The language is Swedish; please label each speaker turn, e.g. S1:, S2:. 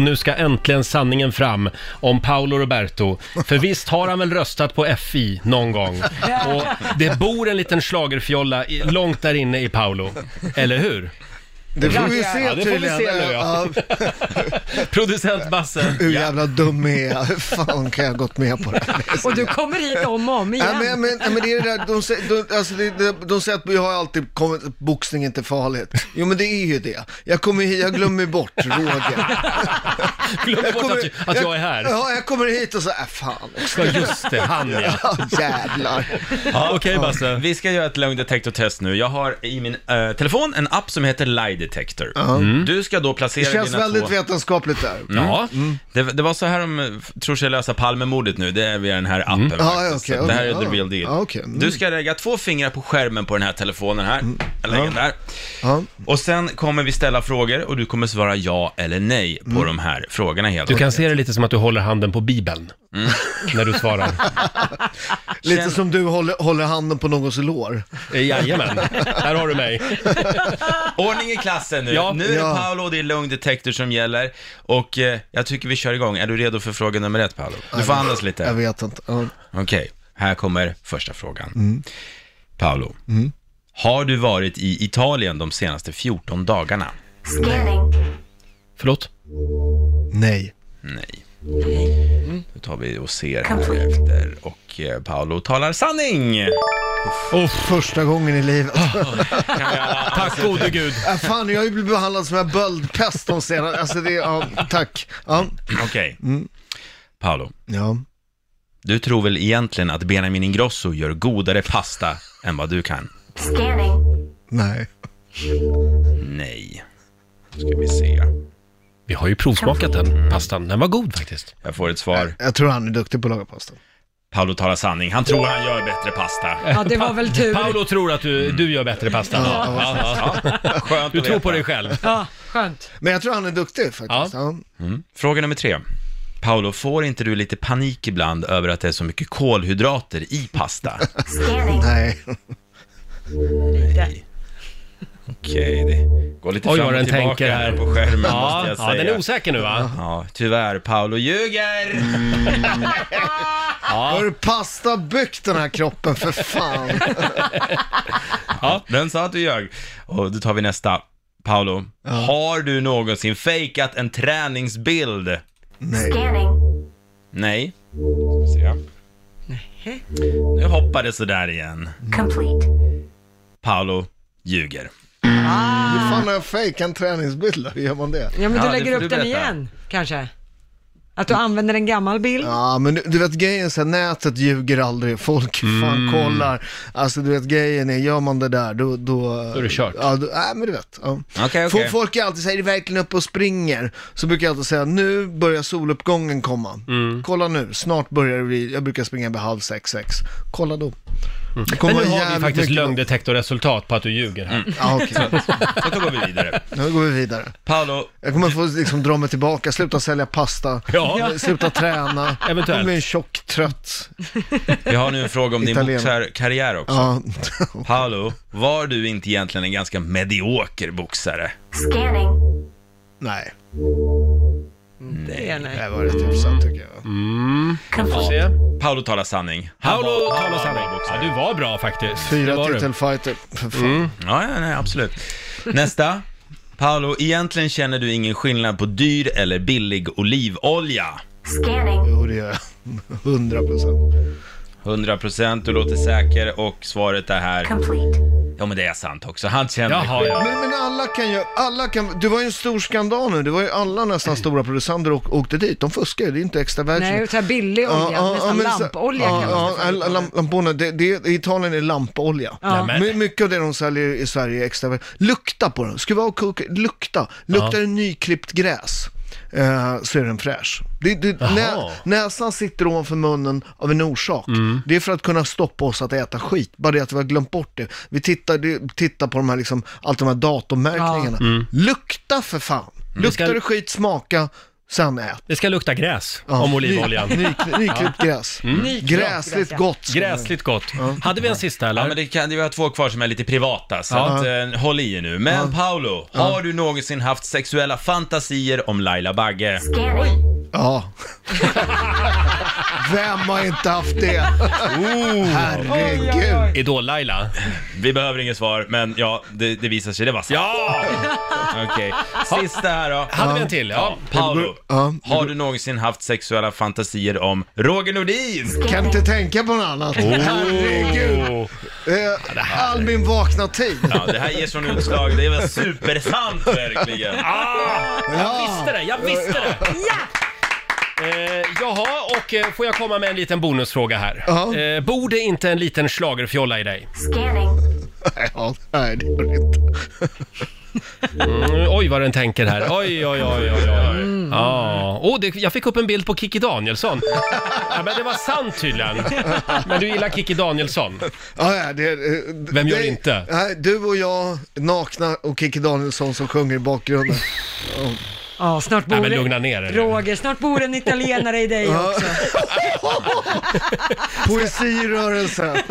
S1: nu ska äntligen sanningen fram om Paolo Roberto. För visst har han väl röstat på FI någon gång? Och det bor en liten schlagerfjolla i- långt där inne i Paolo, eller hur?
S2: Det får vi se
S1: Ja, det får vi se
S2: tydligen.
S1: nu, ja. Producent Basse.
S2: hur jävla dum är jag? Hur fan kan jag ha gått med på det här?
S3: Och du kommer hit om och om igen.
S2: Nej, men, men, nej, men det är det där, de, sä- de, alltså det, de, de säger att jag har alltid kommit, boxning är inte farligt. Jo men det är ju det. Jag, kommer, hit- jag glömmer bort Roger.
S1: Glöm
S2: Jag
S1: bort
S2: kommer-
S1: att, att jag är här.
S2: Ja, jag kommer hit och så, äh, fan också.
S1: Ja, just det, han ja.
S2: Ja, jävlar.
S1: ja Okej Basse.
S4: Vi ska göra ett lögn detector-test nu. Jag har i min eh, telefon en app som heter Lie Detector.
S1: Mm.
S4: Du ska då
S2: Det
S4: placera
S2: känns
S4: dina
S2: väldigt Mm.
S4: två...
S2: vetenskapligt där.
S4: Ja, det, det var så här de eh, tror sig lösa Palmemordet nu, det är via den här appen
S2: Ja,
S4: faktiskt.
S2: ja, Mm. Ah, okej,
S4: Så Det här
S2: okej,
S4: är the
S2: ja.
S4: real deal.
S2: Ja, okej. Mm.
S4: Du ska lägga två fingrar på skärmen på den här telefonen här. Jag lägger den där.
S2: Ja.
S4: Och sen kommer vi ställa frågor och du kommer svara ja eller nej på
S2: Mm.
S4: de här frågorna helt
S1: Du kan se det lite som att du håller handen på Bibeln.
S2: Mm.
S1: När du svarar.
S2: Lite
S4: Känn-
S2: som du håller, håller handen på någons lår.
S1: Eh, Jajamän, här har du mig.
S4: Ordning i klassen nu.
S1: Ja.
S4: Nu är det
S2: Ja.
S4: Paolo och det är lugn detektor som gäller. Och eh, jag tycker vi kör igång. Är du redo för fråga nummer ett Paolo? Du får andas
S2: Jag
S4: lite.
S2: vet inte. Ja.
S4: Okej, här kommer första frågan.
S2: Mm.
S4: Paolo, har du varit i Italien de senaste 14 dagarna?
S5: Scanning.
S1: Förlåt?
S2: Nej.
S4: Nej.
S2: Mm.
S4: Då tar vi och ser här
S5: Complete.
S4: efter. Och eh, Paolo talar sanning!
S2: Första gången i livet.
S1: Tack
S4: Alltså-
S1: gode gud.
S2: Äh, fan, jag har ju blivit behandlad som en böldpest de senaste... Alltså det, ja, tack. Ja.
S4: Okej.
S2: Mm.
S4: Paolo,
S2: ja.
S4: du tror väl egentligen att Benjamin Ingrosso gör godare pasta än vad du kan?
S5: Scanning.
S2: Nej.
S4: Nej. Då ska vi se.
S1: Vi har ju provsmakat den pastan, den var god faktiskt.
S4: Jag får ett svar.
S2: Jag tror han är duktig på att laga pasta.
S4: Paolo talar sanning. Han tror han gör bättre pasta.
S3: Ja, det var väl tur.
S1: Paolo tror att du, du gör bättre pasta.
S4: Ja, skönt
S1: Du
S4: att
S1: tror
S4: veta.
S1: på dig själv.
S3: Ja, skönt.
S2: Men jag tror han är duktig faktiskt. Ja.
S4: Fråga nummer tre. Paolo, får inte du lite panik ibland över att det är så mycket kolhydrater i pasta?
S5: Scanning.
S2: Nej.
S4: Nej. Okej, det går lite
S1: Oj,
S4: fram
S1: vad
S4: och
S1: den
S4: tillbaka
S1: tänker
S4: här
S1: här.
S4: på skärmen måste
S1: Ja,
S4: jag
S1: ja,
S4: säga.
S1: den är osäker nu va?
S4: Ja, tyvärr, Paolo ljuger!
S2: Har du pasta byggt den här kroppen för fan?
S4: Den sa att du ljög. Och då tar vi nästa. Paolo, har du någonsin fejkat en träningsbild?
S2: Nej.
S5: Scanning.
S4: Nej. Ska se. Nu hoppar det sådär igen.
S5: Complete.
S4: Paolo ljuger.
S2: Hur fan har jag fejkat en träningsbild då? Hur gör man det?
S3: Ja, men
S4: Ja,
S3: du
S4: det
S3: lägger
S4: får
S3: upp
S4: du
S3: den
S4: berätta.
S3: igen, kanske? Att du använder en gammal bild?
S2: Ja, men du, du vet grejen så här, nätet ljuger aldrig. Folk
S1: Mm.
S2: fan kollar. Alltså du vet grejen är, gör man det där då... Då, då
S1: är det kört.
S2: Ja, då, nej men du vet. Ja.
S4: Okej, okej.
S2: Fo- Folk är alltid säger är det verkligen uppe och springer? Så brukar jag alltid säga, nu börjar soluppgången komma.
S1: Mm.
S2: Kolla nu, snart börjar det bli, jag brukar springa vid halv sex, sex. Kolla då. Det kommer
S1: Mm. Men nu
S2: vara
S1: har vi
S2: jävligt
S1: faktiskt
S2: mycket- Mm.
S1: lögndetektorresultat på att du ljuger här.
S2: Ja, okej.
S4: Så då går vi vidare.
S2: Nu går vi vidare.
S4: Paolo,
S2: Jag kommer få liksom dra mig tillbaka, sluta sälja pasta,
S1: Ja.
S2: sluta träna,
S1: Eventuellt.
S2: Jag blir en tjock, trött.
S4: vi har nu en fråga om din
S2: Italien.
S4: boxarkarriär också.
S2: Ja.
S4: Paolo, var du inte egentligen en ganska medioker boxare?
S5: Scanning.
S2: Nej,
S3: Det är nej.
S2: det var rätt hyfsat tycker jag.
S1: Mm.
S5: Complete.
S1: Se.
S4: Paolo talar sanning. Han
S1: Paolo
S4: var-
S1: talar
S4: han var
S1: sanning. Ja,
S4: boxare.
S1: du var bra faktiskt. Det Mm.
S2: Fyra
S1: var du.
S2: titelfighter, för fan.
S4: Ja, ja, nej, absolut. Nästa. Paolo, egentligen känner du ingen skillnad på dyr eller billig olivolja.
S5: Scanning.
S2: Jo, det gör jag. Hundra procent.
S4: 100% du låter säker och svaret är här.
S5: Complete.
S4: Ja men det är sant också, han känner
S1: Jaha, ja.
S2: Men, men alla kan ju, alla kan, du var ju en stor skandal nu, det var ju alla nästan stora producenter och åkte dit, de fuskar ju, det är inte extra virgin.
S3: Nej, så här billig olja, nästan
S2: men så-
S3: lampolja
S2: ja,
S3: kallas
S2: ja,
S3: det för.
S2: lamp- Lamporna, det, det, i Italien är det lampolja.
S3: Ja.
S1: Nämen.
S2: My, mycket av det de säljer i Sverige är extra Lukta på den, skruva av koken, lukta. Luktar det nyklippt gräs eh, så är den fräsch. Det, det,
S1: Jaha.
S2: nä, näsan sitter ovanför munnen av en orsak.
S3: Mm.
S2: Det är för att kunna stoppa oss att äta skit. Bara det att vi har glömt bort det. Vi tittar, det, tittar på de här,
S3: Mm.
S2: liksom, allt de här datummärkningarna. Lukta för fan. Luktar
S1: ska-
S2: det skit, smaka. Sen ät.
S1: Det ska lukta gräs
S2: Ja,
S1: om olivoljan.
S2: Ny, ny, nyklippt gräs. Mm. Gräsligt
S3: ja.
S2: gott. ska
S1: Gräsligt gott. Hade vi en sista eller?
S4: Ja, men det kan, det- vi har två kvar som är lite privata, så att, eh, håll i er nu. Men Paolo, har du någonsin haft sexuella fantasier om Laila Bagge?
S5: Scanning.
S2: man- Ja. Vem har inte haft det?
S1: Oh.
S2: Herregud.
S1: Idol-Laila.
S4: Vi behöver inget svar, men ja, det, det visar sig, det var sant.
S1: Ja!
S4: Okej, sista här då.
S1: Hade vi en till? Ja.
S4: Paolo,
S2: Ja.
S4: har du någonsin haft sexuella fantasier om Roger Nordin?
S2: Kan inte tänka på något annat. Herregud.
S1: Oh.
S2: Eh, Albin vakna tid.
S4: Ja, det här ger sån utslag, det var supersant verkligen.
S1: Ah! Jag
S2: Ja.
S1: visste det, jag visste det! Eh, jaha, och eh, får jag komma med en liten bonusfråga här?
S2: Ja.
S1: Eh, borde inte en liten schlagerfjolla i dig?
S5: Scanning.
S2: Ja, nej, det gör det inte.
S1: Mm, oj, vad den tänker här. Oj, oj, oj, oj, oj. Ja. Åh, det, jag fick upp en bild på Kikki Danielsson. Ja, men det var sant tydligen. Men du gillar Kikki Danielsson?
S2: Ja, ja, det, eh, d-
S1: Vem gör
S2: det-
S1: inte?
S2: Nej, du och jag, nakna och Kikki Danielsson som sjunger i bakgrunden.
S3: Ja, snart bor
S1: Nej, men
S3: det-
S1: lugna ner er nu.
S3: Roger, snart bor en italienare i dig också.
S2: Poesi i rörelse.